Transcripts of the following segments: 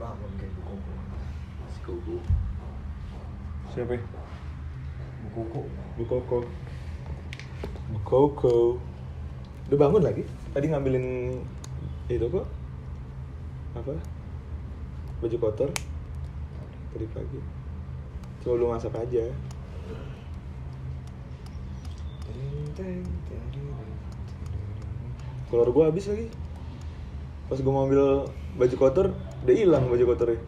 bangun kayak Bu Koko. si Koko Siapa? ya? Bu Koko. Bu Koko. Bu Koko. Udah bangun lagi? Tadi ngambilin itu kok. Apa? Baju kotor. Tadi pagi. Coba lu masak aja. Kolor gua habis lagi. Pas gua mau ambil baju kotor, udah hilang baju kotornya.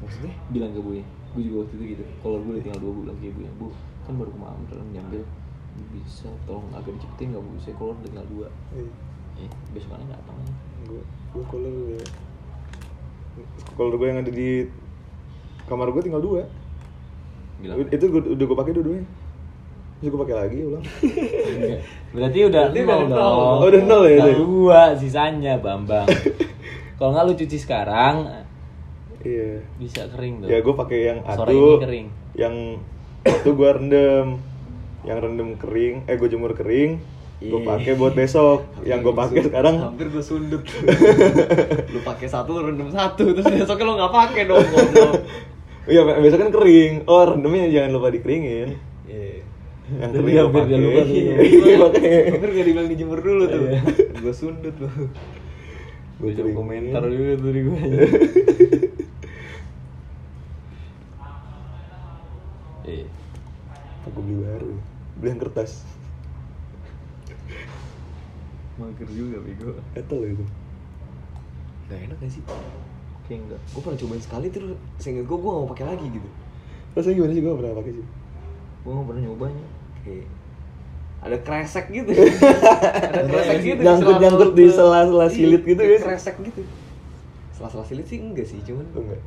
Maksudnya? bilang ke gue gue juga waktu itu gitu kalau gue tinggal dua bulan ke ibunya bu kan baru kemarin dalam nyambil bisa tolong agak dicepetin nggak bu saya keluar udah tinggal dua Iya. eh besokannya datang gue gue kolor ya kolor gue yang ada di kamar gue tinggal dua bilang itu gua, udah gue pakai dua-duanya terus gue pakai lagi ulang Enggak. berarti udah Berarti nol udah dong nol. Oh, udah nol ya, Udah Dek? dua sisanya bambang kalau nggak lu cuci sekarang iya bisa kering dong ya gue pakai yang Sore ini atuh kering. yang itu gue rendem yang rendem kering eh gue jemur kering gue Ih. pakai buat besok yang gue pakai sekarang Hampir gue sundut. lu pakai satu, lu rendam satu, terus besoknya lu nggak pakai dong. goblok. iya besok kan kering oh rendemnya jangan lupa dikeringin Iya. yang Jadi kering gue hampir dia lupa tuh. pakai Iya, makanya Hampir gak dibilang dijemur dulu tuh. Iya. gue sundut lu. gue Coba komentar dulu tuh di gue Eh, Apa gue beli baru ya? Beli yang kertas Mager juga bego. Etel itu Gak enak gak sih? kayak enggak Gue pernah cobain sekali terus seinget gue gue gak mau pakai lagi gitu. Rasanya gimana sih gue pernah pakai sih gue nggak pernah nyobanya Kayak ada kresek gitu. ada kresek Iya, gitu. nyangkut-nyangkut di sela-sela silit gitu ya. ya? Kresek gitu. Sela-sela silit sih enggak sih, cuman Tuh enggak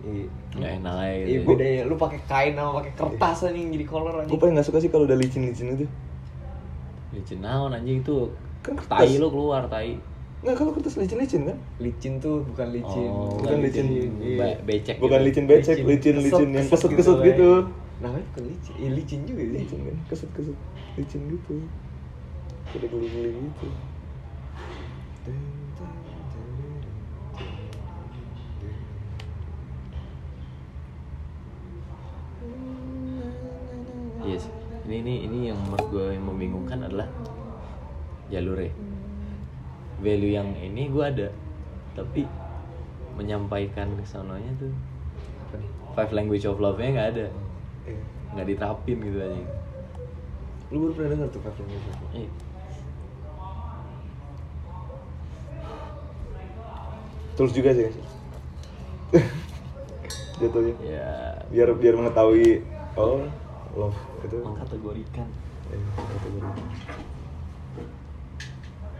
Iya. nggak enak aja Iya gitu. Iya. bedanya lu pakai kain sama pakai kertas anjing jadi kolor anjing. Gue paling gak suka sih kalau udah licin-licin gitu. itu licin naon anjing itu Kan kertas. tai lu keluar tai Enggak kalau kertas licin-licin kan Licin tuh bukan licin. Oh, Bukan licin iya. be- becek Bukan gitu. licin becek, licin-licin yang keset-keset gitu Namanya bukan licin. Iya licin juga sih. Licin kan, keset-keset Licin gitu Udah geli-geli gitu yes ini ini ini yang menurut gue yang membingungkan adalah jalurnya value yang ini gue ada tapi menyampaikan kesononya tuh Apa nih? five language of love nya nggak ada Iya. nggak diterapin gitu aja Lu baru pernah denger tuh Kevin Music? eh, Terus juga sih Jatuhnya ya Biar biar mengetahui Oh love itu Iya, mengkategorikan Eh, kategori.